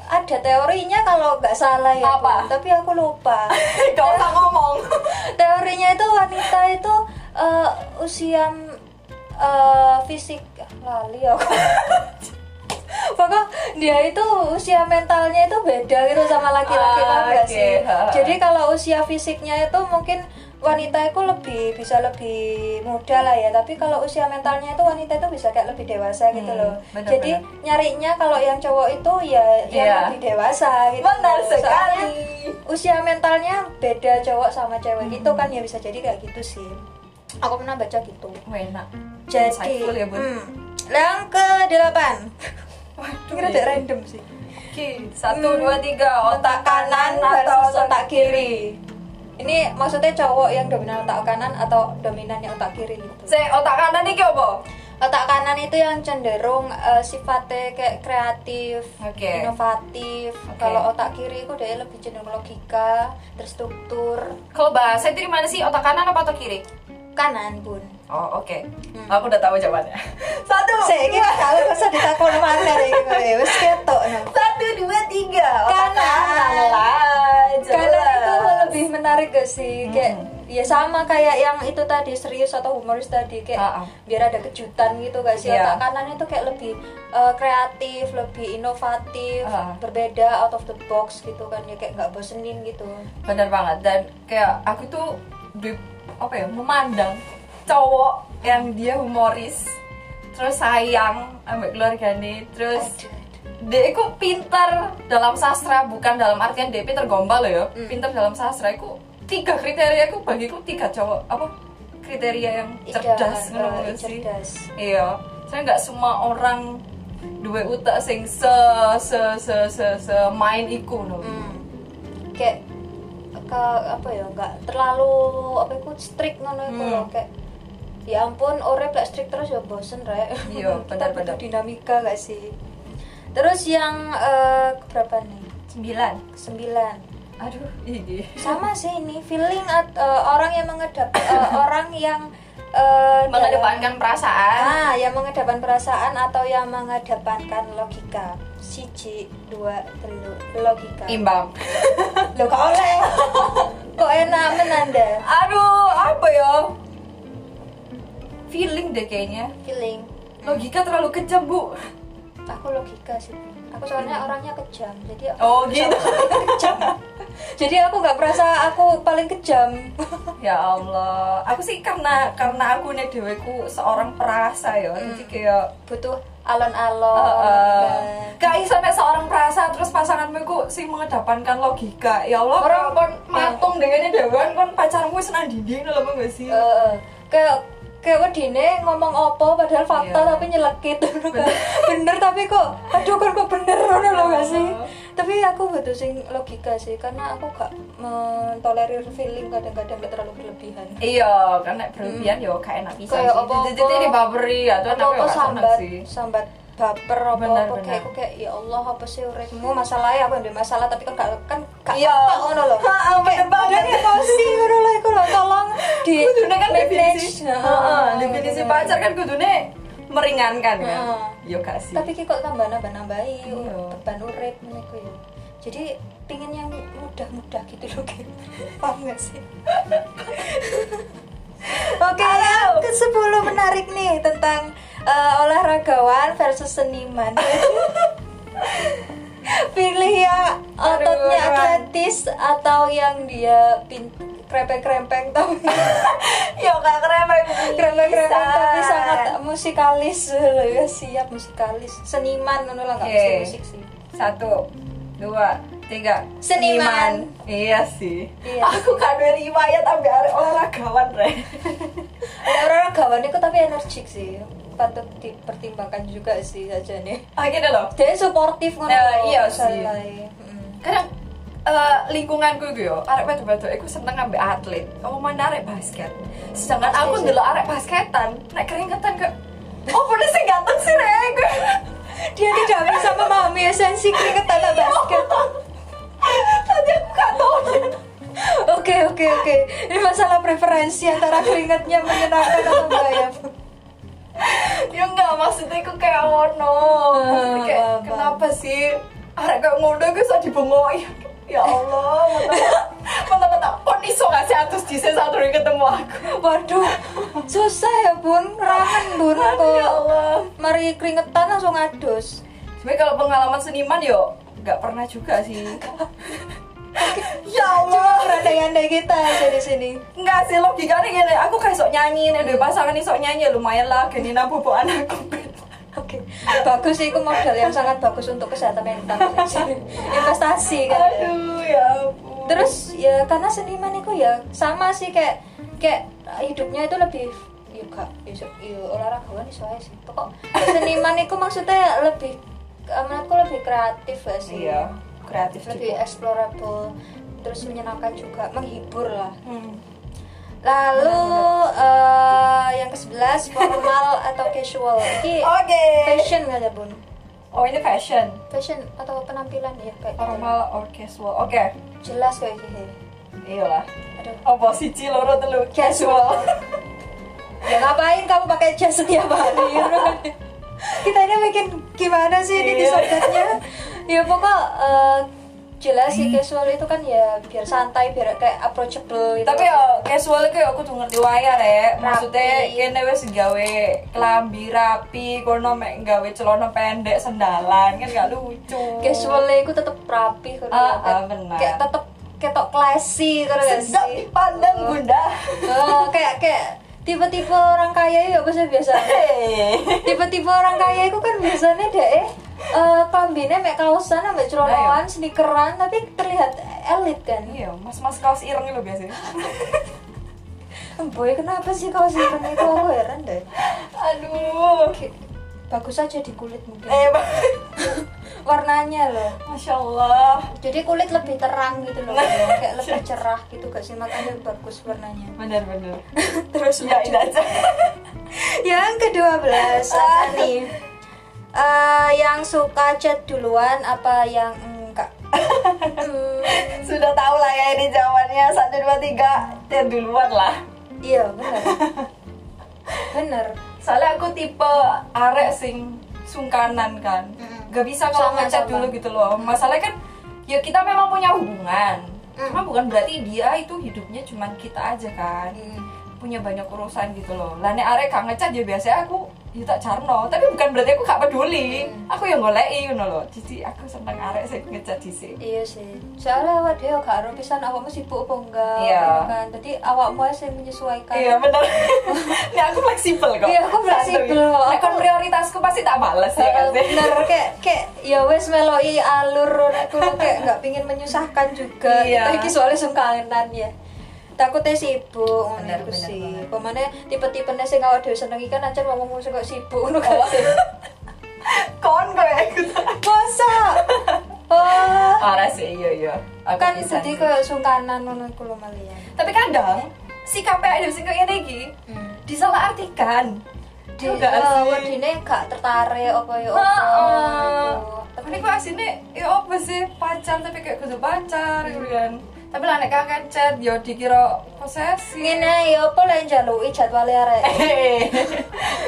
Speaker 1: ada teorinya kalau nggak salah ya Bu.
Speaker 2: Apa?
Speaker 1: tapi aku lupa
Speaker 2: gak usah ngomong
Speaker 1: teorinya itu wanita itu eh, usia mm, eh, fisik ah, lali aku pokok dia itu usia mentalnya itu beda gitu sama laki-laki
Speaker 2: Ah,
Speaker 1: paham nggak
Speaker 2: oke.
Speaker 1: sih
Speaker 2: Ha, ha.
Speaker 1: jadi kalau usia fisiknya itu mungkin wanita itu lebih bisa lebih muda lah ya tapi kalau usia mentalnya itu wanita itu bisa kayak lebih dewasa gitu
Speaker 2: Hmm,
Speaker 1: loh
Speaker 2: bener-bener.
Speaker 1: jadi nyarinya kalau yang cowok itu ya yang
Speaker 2: Iya.
Speaker 1: lebih dewasa gitu
Speaker 2: benar sekali
Speaker 1: Soalnya usia mentalnya beda cowok sama
Speaker 2: Hmm.
Speaker 1: cewek gitu kan ya bisa jadi kayak gitu sih aku pernah baca gitu
Speaker 2: enak
Speaker 1: jadi
Speaker 2: Insightful ya bun
Speaker 1: hmm, yang ke delapan
Speaker 2: Waduh,
Speaker 1: kira
Speaker 2: ya.
Speaker 1: udah random sih
Speaker 2: Oke, satu dua tiga otak kanan
Speaker 1: versus
Speaker 2: atau
Speaker 1: otak kiri ini maksudnya cowok yang dominan otak kanan atau dominannya otak kiri gitu
Speaker 2: saya otak kanan iki apa
Speaker 1: otak kanan itu yang cenderung eh, sifatnya kayak kreatif
Speaker 2: Oke.
Speaker 1: inovatif
Speaker 2: Oke.
Speaker 1: kalau otak kiri itu dia lebih cenderung logika terstruktur
Speaker 2: kalau bahasa itu di mana sih otak kanan apa otak kiri
Speaker 1: kanan pun
Speaker 2: oh oke aku udah tahu jawabannya satu
Speaker 1: Saya ini kalau gak usah ditakon mana deh
Speaker 2: ya.
Speaker 1: gue, wes ketok no.
Speaker 2: satu dua tiga otak
Speaker 1: Kanan.
Speaker 2: kanan lah
Speaker 1: Karena itu
Speaker 2: jelas.
Speaker 1: lebih menarik gak sih,
Speaker 2: Hmm.
Speaker 1: kayak ya sama kayak yang itu tadi serius atau humoris tadi kayak
Speaker 2: Ah, ah.
Speaker 1: biar ada kejutan gitu gak sih.
Speaker 2: Iya.
Speaker 1: Otak kanan itu kayak lebih eh, kreatif, lebih inovatif,
Speaker 2: Ah.
Speaker 1: berbeda out of the box gitu kan ya kayak nggak bosenin gitu.
Speaker 2: bener banget dan kayak aku tuh di apa ya memandang cowok yang dia humoris terus sayang sama keluargane terus
Speaker 1: Aduh, aduh.
Speaker 2: dia itu pintar dalam sastra bukan dalam artian dia pintar gombal loh ya
Speaker 1: Hmm.
Speaker 2: pintar dalam sastra itu tiga kriteria aku bagiku tiga cowok apa kriteria yang
Speaker 1: Ida,
Speaker 2: cerdas ngono
Speaker 1: eh,
Speaker 2: nggak sih
Speaker 1: cerdas.
Speaker 2: iya saya nggak semua orang dua utak sing se se se se, se main iku no
Speaker 1: Hmm. Kayak ke apa ya nggak terlalu apa itu strict ngono iku
Speaker 2: Hmm.
Speaker 1: loh kayak ya ampun urip lek strict terus ya bosen rek. Kita
Speaker 2: Iya, benar-benar.
Speaker 1: butuh dinamika gak sih? Terus yang eh, berapa nih?
Speaker 2: sembilan
Speaker 1: Sembilan
Speaker 2: aduh ini
Speaker 1: sama sih ini feeling at, eh, orang yang mengedap eh, orang yang eh, dalam-
Speaker 2: mengedepankan perasaan
Speaker 1: ah yang mengedepan perasaan atau yang mengedepankan logika siji dua telu logika
Speaker 2: imbang
Speaker 1: Loh kok oleh? kok enak menanda?
Speaker 2: aduh apa ya feeling deh kayaknya
Speaker 1: Feeling.
Speaker 2: logika terlalu kejam bu
Speaker 1: Aku logika sih. Aku soalnya orangnya kejam, jadi aku
Speaker 2: Hmm. oh gitu
Speaker 1: kejam. jadi aku nggak merasa aku paling kejam.
Speaker 2: ya Allah aku sih karena karena aku nih deweku seorang perasa ya jadi kayak
Speaker 1: Butuh alon-alon.
Speaker 2: eh, eh,
Speaker 1: kan.
Speaker 2: Gak bisa nek seorang perasa terus pasanganmu ku sih mengedepankan logika ya Allah
Speaker 1: Orang-
Speaker 2: orang kon matung dengan dewan kon pacarmu senang dinding lho apa gak sih
Speaker 1: Eh, eh. kayak kayak wedine ngomong opo padahal fakta
Speaker 2: Iya.
Speaker 1: tapi nyelekit bener, bener tapi kok aduh kok kok bener ngono lho gak sih tapi aku butuh sing logika sih karena aku gak mentolerir feeling kadang-kadang gak terlalu berlebihan
Speaker 2: iya kan nek berlebihan yo gak enak bisa
Speaker 1: Kayak
Speaker 2: sih
Speaker 1: apa-apa-
Speaker 2: titik-titik di baberi ya tuh
Speaker 1: apa apa
Speaker 2: gak seneng
Speaker 1: sambat
Speaker 2: sih
Speaker 1: sambat baper apa apa
Speaker 2: Benar,
Speaker 1: kayak
Speaker 2: benar.
Speaker 1: aku kayak ya Allah apa sih uripmu masalahnya aku yang ada masalah tapi kan gak kan gak
Speaker 2: Iya.
Speaker 1: apa ngono loh
Speaker 2: Ha, bener banget.
Speaker 1: Padahal emosi ngono loh iku loh tolong di
Speaker 2: kudune kan definisi
Speaker 1: manage.
Speaker 2: Heeh,
Speaker 1: Heeh,
Speaker 2: definisi
Speaker 1: bener.
Speaker 2: pacar kan kudune meringankan kan
Speaker 1: Heeh.
Speaker 2: yo gak sih
Speaker 1: tapi ki kok tambah nambah nambahi
Speaker 2: Iya.
Speaker 1: beban urip ngono iku ya jadi pingin yang mudah-mudah gitu loh Ki. paham gak sih Oke, yang ke sepuluh menarik nih tentang eh, olahragawan versus seniman. Pilih yang
Speaker 2: Aduh,
Speaker 1: ototnya
Speaker 2: Ran.
Speaker 1: atletis atau yang dia pin krempeng-krempeng tapi
Speaker 2: yo gak krempeng
Speaker 1: krempeng-krempeng tapi
Speaker 2: pisan.
Speaker 1: sangat musikalis loh ya siap musikalis seniman ngono lah nggak
Speaker 2: Oke.
Speaker 1: mesti musik sih
Speaker 2: satu dua tiga
Speaker 1: Seniman.
Speaker 2: iya sih
Speaker 1: Iya.
Speaker 2: aku kan dari riwayat ambil arek olahragawan re
Speaker 1: olahragawan itu tapi energik sih patut dipertimbangkan juga sih aja nih
Speaker 2: akhirnya Ah, loh
Speaker 1: dia supportif ngono
Speaker 2: Nah,
Speaker 1: loh,
Speaker 2: iya
Speaker 1: misalnya.
Speaker 2: sih.
Speaker 1: Mm.
Speaker 2: kadang eh, lingkunganku gue yo arek pada pada aku seneng ambil atlet omongan arek basket sedangkan
Speaker 1: Pasti
Speaker 2: aku
Speaker 1: sih.
Speaker 2: ndelok arek basketan nek keringetan ke oh bener sih ganteng sih re gue
Speaker 1: dia tidak bisa memahami esensi kriket tanah
Speaker 2: Iya.
Speaker 1: basket
Speaker 2: tadi aku gak tau
Speaker 1: oke oke oke ini masalah preferensi antara keringatnya menyenangkan atau enggak ya Bu?
Speaker 2: maksudnya aku kayak ono Maksudnya kayak
Speaker 1: Apa-apa.
Speaker 2: kenapa sih arek kayak ngono gue sok dibengoi ya Allah mentah-mentah kon iso gak sih atus dhisik saat durung ketemu aku
Speaker 1: Waduh, susah ya bun, ramen bun
Speaker 2: Aduh, ya
Speaker 1: kok.
Speaker 2: Allah
Speaker 1: Mari keringetan langsung adus.
Speaker 2: sebenarnya kalau pengalaman seniman yo nggak pernah juga sih ya Allah
Speaker 1: Berandai-andai Oh, kita aja di sini.
Speaker 2: Enggak sih logikanya gini, aku kayak sok nyanyi nih, dua pasangan nih sok nyanyi ya lumayan lah, gini nabu bu anakku
Speaker 1: Oke, bagus sih, itu modal yang sangat bagus untuk kesehatan mental. Investasi kan. ya.
Speaker 2: Aduh ya ampun.
Speaker 1: Terus ya karena seniman itu ya sama sih kayak kayak hidupnya itu lebih ya gak ya, ya olahragawan iso ae sih. Pokok seniman itu maksudnya lebih eh, menurutku lebih kreatif gak sih.
Speaker 2: iya kreatif
Speaker 1: lebih
Speaker 2: juga.
Speaker 1: explorable terus menyenangkan juga menghibur lah
Speaker 2: Hmm.
Speaker 1: lalu eh, yang ke sebelas formal atau casual ini
Speaker 2: Oke.
Speaker 1: fashion nggak ada bun
Speaker 2: Oh ini fashion.
Speaker 1: fashion atau penampilan ya kayak gitu.
Speaker 2: Formal or casual. Oke.
Speaker 1: jelas kayak gini
Speaker 2: Iyalah.
Speaker 1: aduh
Speaker 2: Apa siji loro telu
Speaker 1: Casual.
Speaker 2: casual.
Speaker 1: ya ngapain kamu pakai jas setiap hari kita ini bikin gimana sih ini
Speaker 2: Iya.
Speaker 1: disobeknya ya pokok eh, jelas sih casual itu kan ya biar santai biar kayak approachable gitu.
Speaker 2: Tapi ya casual itu ya aku tuh ngerti wayar ya. Maksudnya
Speaker 1: Rapi.
Speaker 2: kene wis gawe kelambi rapi, kono mek gawe celana pendek sendalan kan gak lucu.
Speaker 1: casualnya iku tetep rapi kan
Speaker 2: Ah,
Speaker 1: kayak-
Speaker 2: ah, benar.
Speaker 1: kayak tetep ketok classy terus gak
Speaker 2: sedap
Speaker 1: sih Oh.
Speaker 2: dipandang bunda.
Speaker 1: Eh, kayak kayak tipe-tipe orang kaya ya biasa biasa tipe-tipe orang kaya itu kan biasanya deh eh kambinnya mek kaosan ambek celonoan sneakeran tapi terlihat elit kan
Speaker 2: Iya, mas-mas kaos ireng lho biasanya.
Speaker 1: Hmm, boy kenapa sih kaos simpen itu aku heran deh
Speaker 2: Aduh.
Speaker 1: Oke, bagus aja di kulit mungkin
Speaker 2: Eh, Mbak.
Speaker 1: warnanya loh
Speaker 2: Masya Allah.
Speaker 1: jadi kulit lebih terang gitu loh kayak lebih cerah gitu gak sih makanya bagus warnanya
Speaker 2: Bener-bener.
Speaker 1: terus
Speaker 2: Ya, ini aja.
Speaker 1: yang kedua belas apa nih Eh, yang suka chat duluan apa yang enggak Hmm,
Speaker 2: Sudah tahu lah ya ini jawabannya. Satu, dua, tiga. Ya duluan lah.
Speaker 1: iya bener bener
Speaker 2: Soalnya aku tipe arek sing sungkanan kan.
Speaker 1: Mm-mm.
Speaker 2: Gak bisa kalau
Speaker 1: Sama,
Speaker 2: ngechat
Speaker 1: sama.
Speaker 2: dulu gitu loh. Masalahnya kan ya kita memang punya hubungan.
Speaker 1: Mm.
Speaker 2: Cuma bukan berarti dia itu hidupnya cuman kita aja kan.
Speaker 1: Iya.
Speaker 2: punya banyak urusan gitu loh lah nek arek gak ngecat ya biasanya aku ya tak jarno tapi bukan berarti aku gak peduli
Speaker 1: Hmm.
Speaker 2: aku yang goleki ngono loh jadi aku seneng arek sing ngecat dhisik
Speaker 1: iya sih soalnya awak dia gak ada pisan awakmu sibuk apa enggak
Speaker 2: Iya.
Speaker 1: gitu kan jadi awakmu aja yang menyesuaikan
Speaker 2: iya bener nek aku fleksibel kok
Speaker 1: Kan? Iya, aku fleksibel.
Speaker 2: Santuy. nek kon
Speaker 1: Aku-
Speaker 2: prioritasku pasti tak bales ya kan
Speaker 1: Heeh, Eh, bener kayak kayak ya wes meloi alur aku kayak nggak pingin menyusahkan juga
Speaker 2: Iya.
Speaker 1: kita iki soalnya sungkanan ya takutnya sibuk ngono
Speaker 2: Bener,
Speaker 1: iku
Speaker 2: bener
Speaker 1: sih
Speaker 2: banget.
Speaker 1: pemane tipe-tipe sing awak dhewe senengi kan aja ngomong sing kok sibuk ngono kan
Speaker 2: Iya. kon ya koyo aku tak
Speaker 1: masa oh
Speaker 2: parah sih iya iya Aku
Speaker 1: kan
Speaker 2: pisan
Speaker 1: jadi
Speaker 2: sih.
Speaker 1: kayak sungkanan ngono iku lho malian
Speaker 2: tapi kadang sikapnya ada sing kaya iki disalahartikan
Speaker 1: di
Speaker 2: Iya gak
Speaker 1: eh,
Speaker 2: sih?
Speaker 1: wedine gak tertarik apa ya apa
Speaker 2: Heeh.
Speaker 1: gitu.
Speaker 2: Tapi kok aslinya ya apa sih pacar tapi kayak kudu pacar gitu
Speaker 1: Hmm.
Speaker 2: kan. Tapi lah nek kakek chat ya dikira posesif.
Speaker 1: ngene ya apa lain jaluki jadwale arek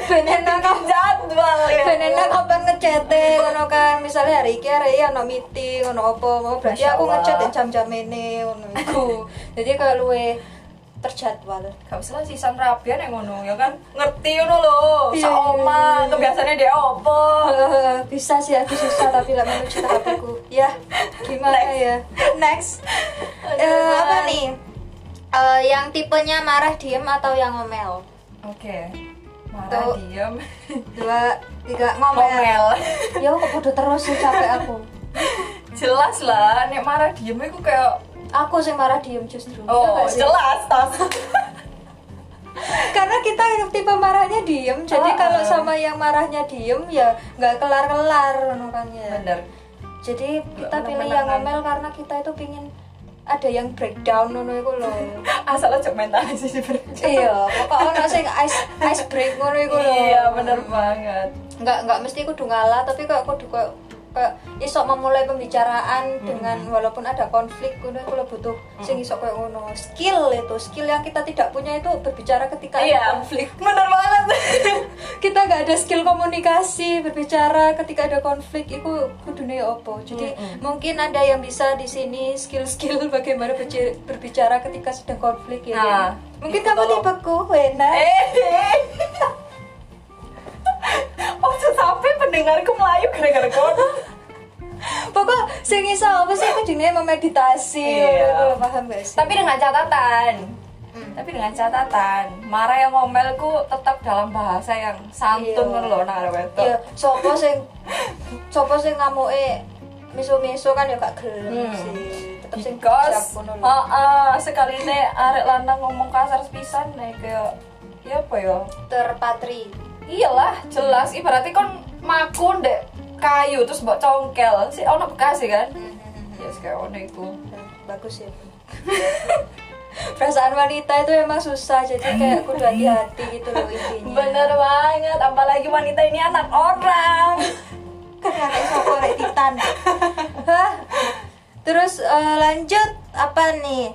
Speaker 1: benen nang kamu
Speaker 2: jadwal ya.
Speaker 1: Benena kapan ngecete ngono kan misalnya hari iki hari iki ono meeting ngono apa mau berarti
Speaker 2: Masya
Speaker 1: aku
Speaker 2: Allah.
Speaker 1: ngecet yang jam-jam ini ngono iku. Jadi kayak luwe terjadwal.
Speaker 2: Gak usah lah sisan rabian yang ngono ya kan ngerti ngono lho.
Speaker 1: Iya, iya,
Speaker 2: Sak
Speaker 1: iya,
Speaker 2: oma
Speaker 1: iya.
Speaker 2: kebiasaannya dia apa.
Speaker 1: Eh, bisa sih aku susah tapi lah menuju tahap aku. Ya, gimana
Speaker 2: Next.
Speaker 1: ya? Next. Eh, apa nih? Eh, yang tipenya marah diem atau yang ngomel?
Speaker 2: Oke. Marah
Speaker 1: Tuh.
Speaker 2: diem.
Speaker 1: Dua, tiga ngomel.
Speaker 2: Ngomel.
Speaker 1: Ya aku bodoh terus sih capek aku.
Speaker 2: Jelas lah nek marah diem itu kayak
Speaker 1: Aku sih marah diem justru. Iya
Speaker 2: oh
Speaker 1: nggak sih?
Speaker 2: jelas tas.
Speaker 1: karena kita hidup tipe marahnya diem jadi
Speaker 2: Ah,
Speaker 1: kalau
Speaker 2: ah.
Speaker 1: sama yang marahnya diem ya nggak kelar kelar ya
Speaker 2: Bener.
Speaker 1: jadi kita
Speaker 2: menang-menangan.
Speaker 1: pilih yang ngomel karena kita itu pingin ada yang breakdown ngono iku lho
Speaker 2: Asal aja mentalnya sih berarti.
Speaker 1: iya pokoknya ono sing ice ice break ngono iku lho
Speaker 2: Iya bener banget.
Speaker 1: nggak nggak mesti kudu ngalah tapi kayak kudu kayak kayak iso memulai pembicaraan
Speaker 2: Hmm.
Speaker 1: dengan walaupun ada konflik kudu kalau butuh sing iso kayak ngono
Speaker 2: Iya.
Speaker 1: skill itu skill yang kita tidak punya itu berbicara ketika ada konflik Eh.
Speaker 2: bener banget
Speaker 1: kita kita nggak ada skill komunikasi berbicara ketika ada konflik itu kudune ya opo
Speaker 2: Hmm,
Speaker 1: jadi mungkin ada yang bisa di sini skill-skill bagaimana berci- berbicara ketika sedang konflik ya
Speaker 2: Nah,
Speaker 1: Ren. mungkin
Speaker 2: itu
Speaker 1: kamu
Speaker 2: tolong.
Speaker 1: tipeku Wena
Speaker 2: Eh. Oh, sampai pendengarku melayu gara-gara kau.
Speaker 1: pokok sing iso apa sih kudune memeditasi
Speaker 2: Iya.
Speaker 1: ngono lho, paham gak sih
Speaker 2: Tapi dengan catatan.
Speaker 1: Hmm.
Speaker 2: Tapi dengan catatan, marah yang ngomelku tetap dalam bahasa yang santun
Speaker 1: Iya.
Speaker 2: ngono lho nang arep wedok.
Speaker 1: ya sopo sing sopo sing ngamuke miso-miso kan ya gak gelem
Speaker 2: Hmm.
Speaker 1: sih tetep sing siap
Speaker 2: Because, Oh.
Speaker 1: ngono lho.
Speaker 2: heeh, sekaline arek lanang ngomong kasar pisan nek kayak ya apa ya?
Speaker 1: terpatri
Speaker 2: Iyalah, jelas ibaratnya kon maku ndek kayu terus mbok congkel. Si ono bekas ya kan? Ya yes, kayak ono iku.
Speaker 1: bagus ya perasaan wanita itu emang susah jadi kayak kudu hati-hati gitu loh intinya
Speaker 2: Bener banget, apalagi wanita ini anak orang.
Speaker 1: kayak sopo Kan kayak titan Hah? terus eh, lanjut apa nih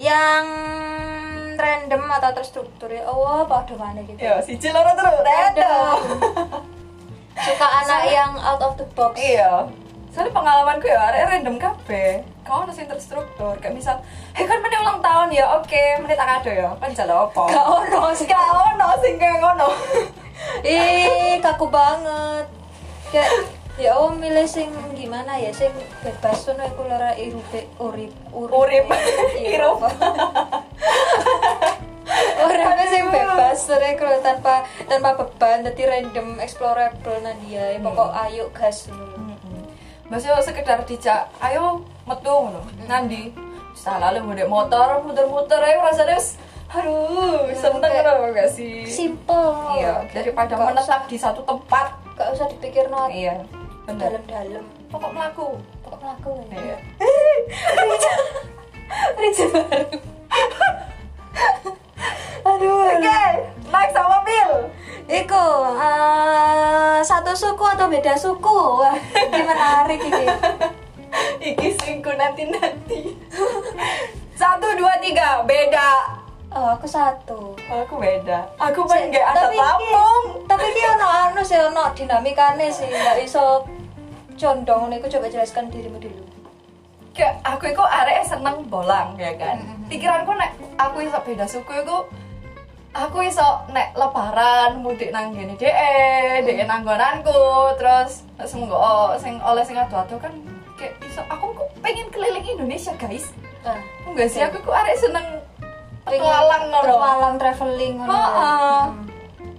Speaker 1: yang random atau terstruktur ya oh pada mana gitu
Speaker 2: Yo, si Ya, loro terus,
Speaker 1: Random.
Speaker 2: random.
Speaker 1: suka anak yang out of the box
Speaker 2: Iya. Soalnya pengalamanku ya arek random kabeh. Kau nasi terstruktur, kayak misal, "Eh kan meneh ulang tahun ya, oke, meneh tak kado ya." Kan jalo
Speaker 1: gak
Speaker 2: apa?
Speaker 1: ono sih
Speaker 2: Gak ono sing kayak ngono.
Speaker 1: ih kaku banget kayak ya om milih sing gimana ya sing bebas tuh aku lara irupe urip urip
Speaker 2: Urip.
Speaker 1: Iya,
Speaker 2: Irup.
Speaker 1: apa? Orangnya sing bebas sore kalau tanpa tanpa beban jadi random explorable nah dia ya,
Speaker 2: Hmm.
Speaker 1: pokok ayo gas
Speaker 2: Iya.
Speaker 1: dulu
Speaker 2: Maksudnya sekedar dijak, "Ayo metu ngono." Nandi. Salah lu ngundek motor, muter-muter ae rasanya wis aduh, seneng
Speaker 1: kayak-
Speaker 2: ngono gak sih?
Speaker 1: simple
Speaker 2: Iya, daripada
Speaker 1: Gak
Speaker 2: menetap di satu tempat.
Speaker 1: gak usah dipikir no
Speaker 2: Iya, bener.
Speaker 1: dalam-dalam
Speaker 2: Pokok melaku.
Speaker 1: pokok melaku
Speaker 2: Iya.
Speaker 1: Rica baru aduh
Speaker 2: Oke, naik sama mobil.
Speaker 1: Iku eh, satu suku atau beda suku? Wah, ini menarik ini.
Speaker 2: Iki selingkuh nanti nanti. Satu dua tiga beda.
Speaker 1: Oh, aku satu.
Speaker 2: Aku beda. Aku kan nggak ada
Speaker 1: Tapi iki-
Speaker 2: tampung.
Speaker 1: Tapi ini ono anu sih, ono dinamikane sih, nggak iso condong niku coba jelaskan dirimu dulu.
Speaker 2: Kayak aku itu area seneng bolang ya kan. Pikiranku nek aku iso beda suku itu aku iso nek lebaran mudik nang gini deh, deh nanggonanku, terus semoga oh, sing oleh sing adu-adu kan kayak iso aku ku pengen keliling Indonesia guys.
Speaker 1: Nah,
Speaker 2: Enggak sih aku ku arek seneng
Speaker 1: pengen
Speaker 2: petualang ngono.
Speaker 1: Petualang traveling ngono.
Speaker 2: Heeh.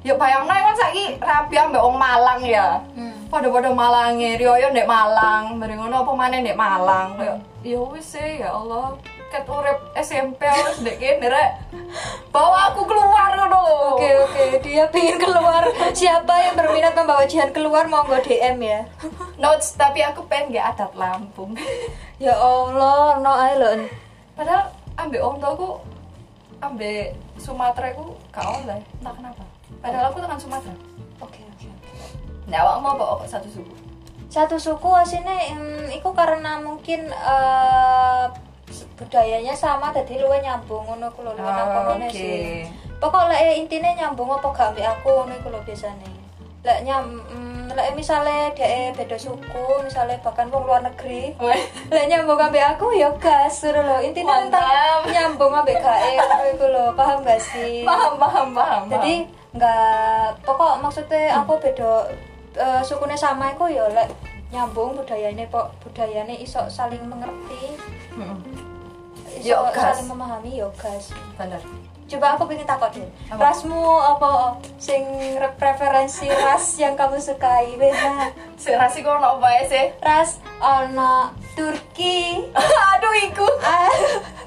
Speaker 2: Ya bayangno kan saiki rabi ambek wong Malang ya.
Speaker 1: Hmm.
Speaker 2: Padha-padha Malange, riyo ndek Malang, mari ngono apa maneh ndek Malang. Kayak ya wis sih ya Allah. Ket urip SMP harus ndek kene rek. Bawa aku keluar ngono lho.
Speaker 1: Oke oke, dia pengen keluar. Siapa yang berminat membawa Jihan keluar monggo DM ya.
Speaker 2: Notes tapi aku pengen gak adat Lampung.
Speaker 1: Ya Allah, no ae lho.
Speaker 2: Padahal ambek wong tuaku ambek Sumatera ku gak oleh. Entah kenapa. Padahal aku tekan Sumatera.
Speaker 1: Oke oke oke.
Speaker 2: Nek awakmu apa kok satu suku?
Speaker 1: satu suku asine mm, iku karena mungkin eh, s- budayanya sama jadi luwe nyambung ngono ku lho luwe
Speaker 2: Ah,
Speaker 1: nampakane
Speaker 2: oke.
Speaker 1: sih pokok lek intine nyambung apa gak ambek aku ngono iku lho biasane lek nyam mm, lek misale dhek e beda suku misale bahkan wong luar negeri
Speaker 2: Weh.
Speaker 1: lek nyambung ambek aku ya gas ngono lho intine tentang
Speaker 2: Mantap.
Speaker 1: nyambung ambek gae ngono iku lho paham gak sih
Speaker 2: paham paham paham
Speaker 1: jadi nggak pokok maksudnya aku beda eh, sukunya sama aku ya lek nyambung budayanya kok budayanya iso saling mengerti
Speaker 2: paham.
Speaker 1: iso
Speaker 2: Yo, gas.
Speaker 1: saling memahami yo gas
Speaker 2: bener
Speaker 1: coba aku pengen takut deh
Speaker 2: Apa?
Speaker 1: rasmu apa sing re- preferensi ras yang kamu sukai beda
Speaker 2: si rasi kok ono apa ya sih
Speaker 1: ras ono Turki
Speaker 2: aduh iku
Speaker 1: Ah,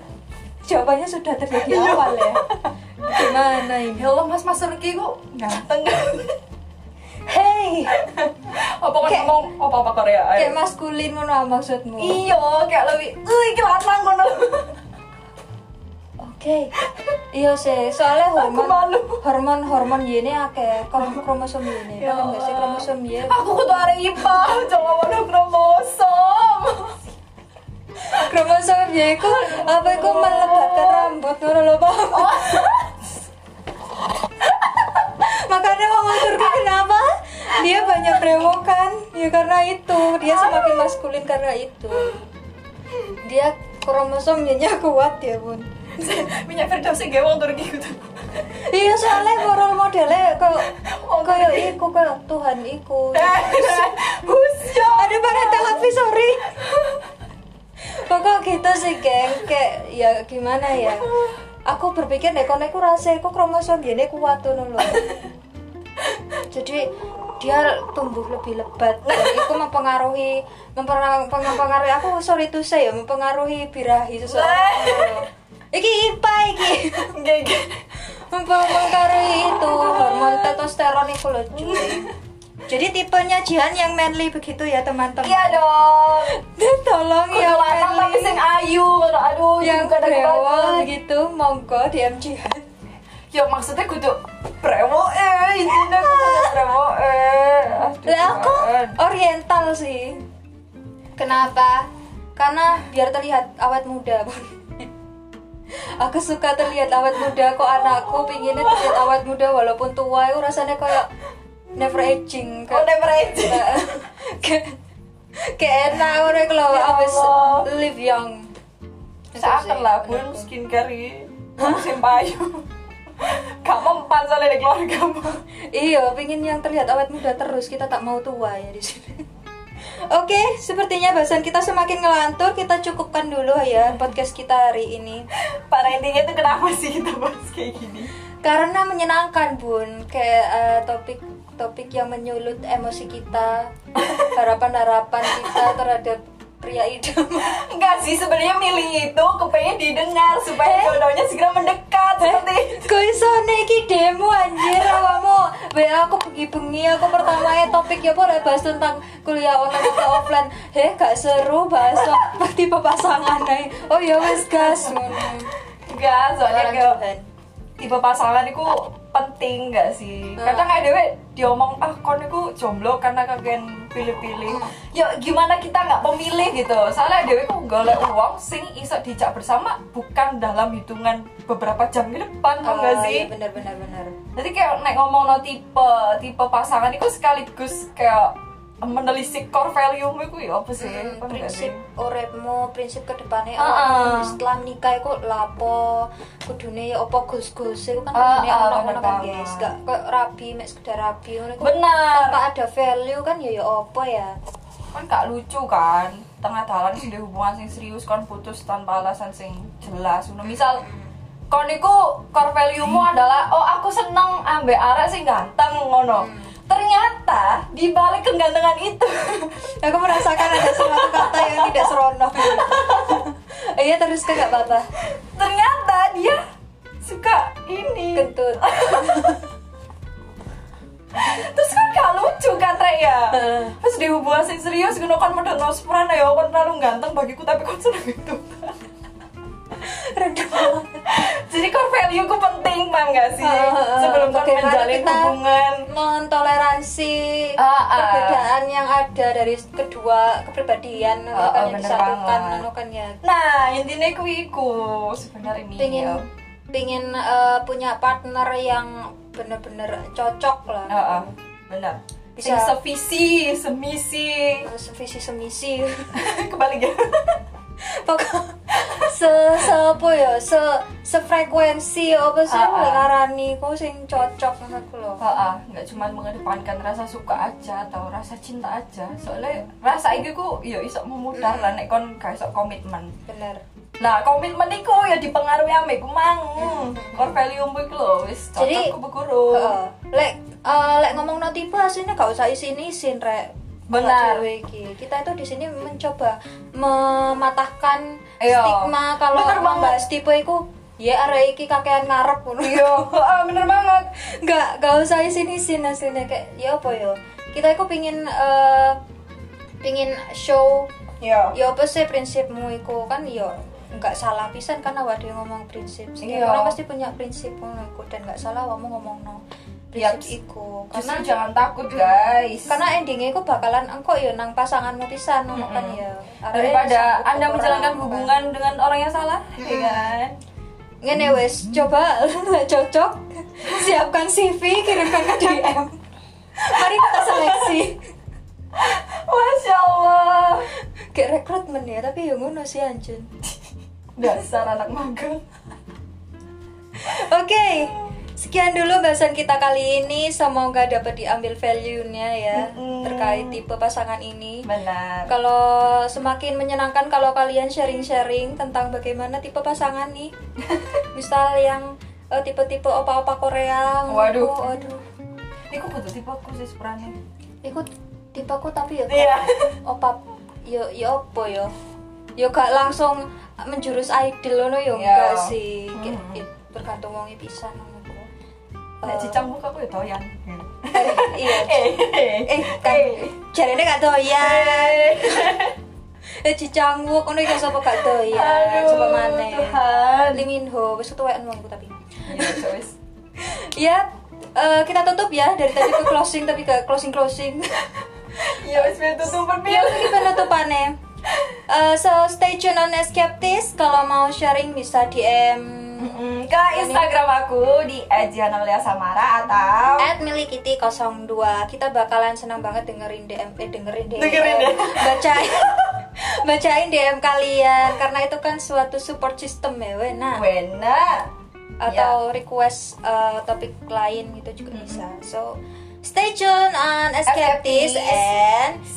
Speaker 1: jawabannya sudah terjadi
Speaker 2: Iya.
Speaker 1: awal ya gimana ini
Speaker 2: ya Allah mas mas Turki ku ganteng
Speaker 1: hey
Speaker 2: apa kan
Speaker 1: Kayak-
Speaker 2: ngomong apa apa Korea ayo.
Speaker 1: kayak maskulin ngono ah maksudnya
Speaker 2: iya kayak lebih uh iki lanang kono
Speaker 1: Oke. Iya sih, soalnya
Speaker 2: Aku
Speaker 1: hormon
Speaker 2: malu.
Speaker 1: hormon hormon gene akeh, krom- kromosom gene.
Speaker 2: Ya
Speaker 1: Paham gak sih
Speaker 2: Allah.
Speaker 1: kromosom ya? Y?
Speaker 2: aku kudu arek IPA jangan ngono kromosom
Speaker 1: Kromosom Y iku apa iku melebatkan rambut ngono lho,
Speaker 2: Oh.
Speaker 1: Pak. Makanya wong Turki kenapa Brewo kan ya karena itu dia semakin maskulin karena itu dia kromosomnya kuat ya bun
Speaker 2: minyak Firdaus sih gewong Turki gitu
Speaker 1: iya soalnya moral modelnya kok kayak iku kayak Tuhan iku
Speaker 2: Eh, Ya Husya
Speaker 1: ada pada televisi sorry pokok gitu sih geng kayak ya gimana ya aku berpikir deh konek aku rasa aku kromosom gini kuat tuh lho jadi dia tumbuh lebih lebat dan itu mempengaruhi memperang- mempengaruhi aku sorry itu saya mempengaruhi birahi seseorang iki ipa iki
Speaker 2: Gege
Speaker 1: mempengaruhi itu hormon testosteron itu loh cuy jadi tipenya Jihan yang manly begitu ya teman-teman
Speaker 2: Iya dong
Speaker 1: Duh, tolong
Speaker 2: Kudu
Speaker 1: ya
Speaker 2: lanang tapi
Speaker 1: manly
Speaker 2: sing ayu Kalau aduh
Speaker 1: yang
Speaker 2: juga ada
Speaker 1: brewol
Speaker 2: kebanyakan.
Speaker 1: gitu monggo DM Jihan
Speaker 2: Ya maksudnya kudu Brewo eh Intinya kudu brewo eh Aduh,
Speaker 1: Ah. lah aku
Speaker 2: Tuhan.
Speaker 1: oriental sih kenapa karena biar terlihat awet muda Bun. aku suka terlihat awet muda kok anakku pinginnya terlihat awet muda walaupun tua itu rasanya kayak never aging
Speaker 2: Oh
Speaker 1: kayak-
Speaker 2: never aging.
Speaker 1: kayak kayak enak orang kalau
Speaker 2: Ya
Speaker 1: abis
Speaker 2: Allah.
Speaker 1: live young
Speaker 2: Seakan lah pun skincare ini Musim payu Gak mempan soalnya di keluargamu
Speaker 1: Iya, pingin yang terlihat awet muda terus. Kita tak mau tua ya di sini. Oke, sepertinya bahasan kita semakin ngelantur. Kita cukupkan dulu ya podcast kita hari ini.
Speaker 2: Para intinya tuh kenapa sih kita bahas kayak gini
Speaker 1: Karena menyenangkan, Bun. Kayak eh, topik topik yang menyulut emosi kita, harapan-harapan kita terhadap pria idaman.
Speaker 2: Enggak sih sebenarnya milih itu kepengen didengar
Speaker 1: Eh?
Speaker 2: supaya jodohnya segera mendekat seperti
Speaker 1: Kau iso iki demo anjir awakmu. WA aku bengi-bengi aku pertama topik ya boleh bahas tentang kuliah online atau offline. Heh gak seru bahas so- tipe pasangan ae. Oh ya wes gas ngono.
Speaker 2: enggak soalnya
Speaker 1: Orang
Speaker 2: kayak
Speaker 1: Tuhan.
Speaker 2: tipe pasangan itu penting
Speaker 1: Eh.
Speaker 2: enggak sih kadang kayak dewe diomong ah kon itu jomblo karena kalian pilih-pilih ya gimana kita nggak pemilih gitu soalnya dewe kok golek uang sing iso dijak bersama bukan dalam hitungan beberapa jam ke depan tau
Speaker 1: Oh,
Speaker 2: nggak sih
Speaker 1: iya bener bener bener.
Speaker 2: Jadi kayak nek ngomong no tipe tipe pasangan itu sekaligus kayak menelisik core value mu itu ya apa sih?
Speaker 1: Hmm,
Speaker 2: Paham nggak sih?
Speaker 1: prinsip uripmu, prinsip kedepannya
Speaker 2: Ah, ah.
Speaker 1: awakmu setelah menikah iku lapo kudune ya apa gus-gus iku kan
Speaker 2: Ah,
Speaker 1: kudune
Speaker 2: ah,
Speaker 1: ono-ono
Speaker 2: bener
Speaker 1: kan
Speaker 2: banget.
Speaker 1: guys. Gak kok rabi mek sekedar rabi ngono iku.
Speaker 2: Benar.
Speaker 1: Tanpa ada value kan ya ya apa ya?
Speaker 2: Kan gak lucu kan? Tengah dalan sih hubungan sing serius kon putus tanpa alasan sing jelas. Ngono misal kon iku core value mu adalah oh aku seneng ambek arek sing ganteng ngono. Ternyata di balik kegantengan itu
Speaker 1: aku merasakan ada suatu kata yang tidak seronok iya terus kan gak apa-apa
Speaker 2: ternyata dia suka ini
Speaker 1: kentut
Speaker 2: terus kan gak lucu kan Rek ya terus di hubungan sing serius gue kan modal tau seperan ya kan terlalu ganteng bagiku tapi kan seneng itu
Speaker 1: redup banget.
Speaker 2: jadi kan value ku penting paham gak sih
Speaker 1: Ah, ah, ah.
Speaker 2: sebelum kan
Speaker 1: Bagaimana
Speaker 2: menjalin
Speaker 1: kita-
Speaker 2: hubungan
Speaker 1: mentoleransi
Speaker 2: Ah, ah.
Speaker 1: perbedaan yang ada dari kedua kepribadian atau kan
Speaker 2: Ah, ah,
Speaker 1: yang
Speaker 2: bener
Speaker 1: disatukan
Speaker 2: banget.
Speaker 1: atau kan ya
Speaker 2: nah intinya ku iku sebenarnya ini
Speaker 1: pingin
Speaker 2: ya.
Speaker 1: pingin eh, punya partner yang bener-bener cocok lah
Speaker 2: Ah, ah, benar
Speaker 1: Bisa.
Speaker 2: bisa sevisi semisi
Speaker 1: sevisi semisi
Speaker 2: kebalik ya
Speaker 1: pokok se se apa ya se sefrekuensi apa sih
Speaker 2: Ah, ah.
Speaker 1: ngarani ku sing cocok menurutku loh
Speaker 2: Ah, ah, nggak cuma mengedepankan rasa suka aja atau rasa cinta aja soalnya rasa itu ku ya iso memudar lah nek kon gak iso komitmen
Speaker 1: bener
Speaker 2: Nah, komitmen iku ya dipengaruhi ambek ku mang. Core value mu iku lho wis
Speaker 1: Jadi,
Speaker 2: cocok ku beguru.
Speaker 1: Heeh. lek eh, lek ngomong no tipe aslinya gak usah isin isin rek Awak
Speaker 2: Benar.
Speaker 1: cewek iki. kita itu di sini mencoba mematahkan
Speaker 2: Iya.
Speaker 1: stigma kalau
Speaker 2: Bener banget.
Speaker 1: membahas tipe iku ya arek iki kakean ngarep ngono
Speaker 2: Yo, heeh, bener banget.
Speaker 1: nggak nggak usah isin isin aslinya kayak ya apa ya kita itu pingin eh, pingin show
Speaker 2: Yo.
Speaker 1: ya apa sih prinsipmu iku kan ya nggak salah pisan kan awak dhewe ngomong prinsip setiap
Speaker 2: Iya.
Speaker 1: orang pasti punya prinsip ngono iku dan nggak salah awakmu ngomong no prinsip
Speaker 2: Yaps.
Speaker 1: iku
Speaker 2: Ya, Justru
Speaker 1: karena
Speaker 2: jangan takut, guys.
Speaker 1: karena endingnya iku bakalan engko ya nang pasanganmu pisan ngono kan ya Arek
Speaker 2: daripada
Speaker 1: sambut
Speaker 2: Anda
Speaker 1: orang,
Speaker 2: menjalankan
Speaker 1: kan.
Speaker 2: hubungan dengan orang yang salah, ya kan?
Speaker 1: ngene wes coba nggak cocok siapkan CV kirimkan ke DM mari kita seleksi kayak rekrutmen ya tapi yang ngono sih anjun
Speaker 2: dasar anak magang
Speaker 1: Oke, sekian dulu bahasan kita kali ini. Semoga dapat diambil value-nya ya
Speaker 2: Mm-mm.
Speaker 1: terkait tipe pasangan ini.
Speaker 2: benar
Speaker 1: Kalau semakin menyenangkan kalau kalian sharing-sharing tentang bagaimana tipe pasangan nih. Misal yang eh, tipe-tipe opa-opa Korea.
Speaker 2: Waduh.
Speaker 1: Oh, waduh.
Speaker 2: ini kok butuh tipe aku sih sebenarnya
Speaker 1: Ikut tipeku tapi ya
Speaker 2: Iya.
Speaker 1: opa ya, yo yo opo yo. Yo Ya gak langsung menjurus idol ngono yo
Speaker 2: Iya.
Speaker 1: enggak sih. Kayak-
Speaker 2: Mm-mm.
Speaker 1: kayak bergantung wonge pisan ngono Eh, ku.
Speaker 2: nek cicang muka aku ya doyan
Speaker 1: Eh, iya eh kan
Speaker 2: Eh.
Speaker 1: jarene gak doyan eh cicangwuk ngono iki sapa gak
Speaker 2: Iya,
Speaker 1: doyan sapa maneh
Speaker 2: Tuhan
Speaker 1: Lee Min Ho wis ketuaan wongku tapi
Speaker 2: Iya, Joyce.
Speaker 1: ya eh, kita tutup ya dari tadi ke closing tapi ke closing closing
Speaker 2: Iya, wis biar tutupan
Speaker 1: ya
Speaker 2: Mil.
Speaker 1: ini penutupannya Eh, so stay tune on Escaptis kalau mau sharing bisa DM
Speaker 2: Mm, Ke Instagram aku di @janauliasamara atau
Speaker 1: at milikiti 02 kita bakalan senang banget dengerin DM eh dengerin DM
Speaker 2: Dengerin ya.
Speaker 1: bacain bacain DM kalian karena itu kan suatu support system ya Wena
Speaker 2: Wena. ya.
Speaker 1: atau request uh, topik
Speaker 2: Mm-hmm.
Speaker 1: lain gitu juga bisa so stay tune on Escaptis
Speaker 2: Escapist.
Speaker 1: and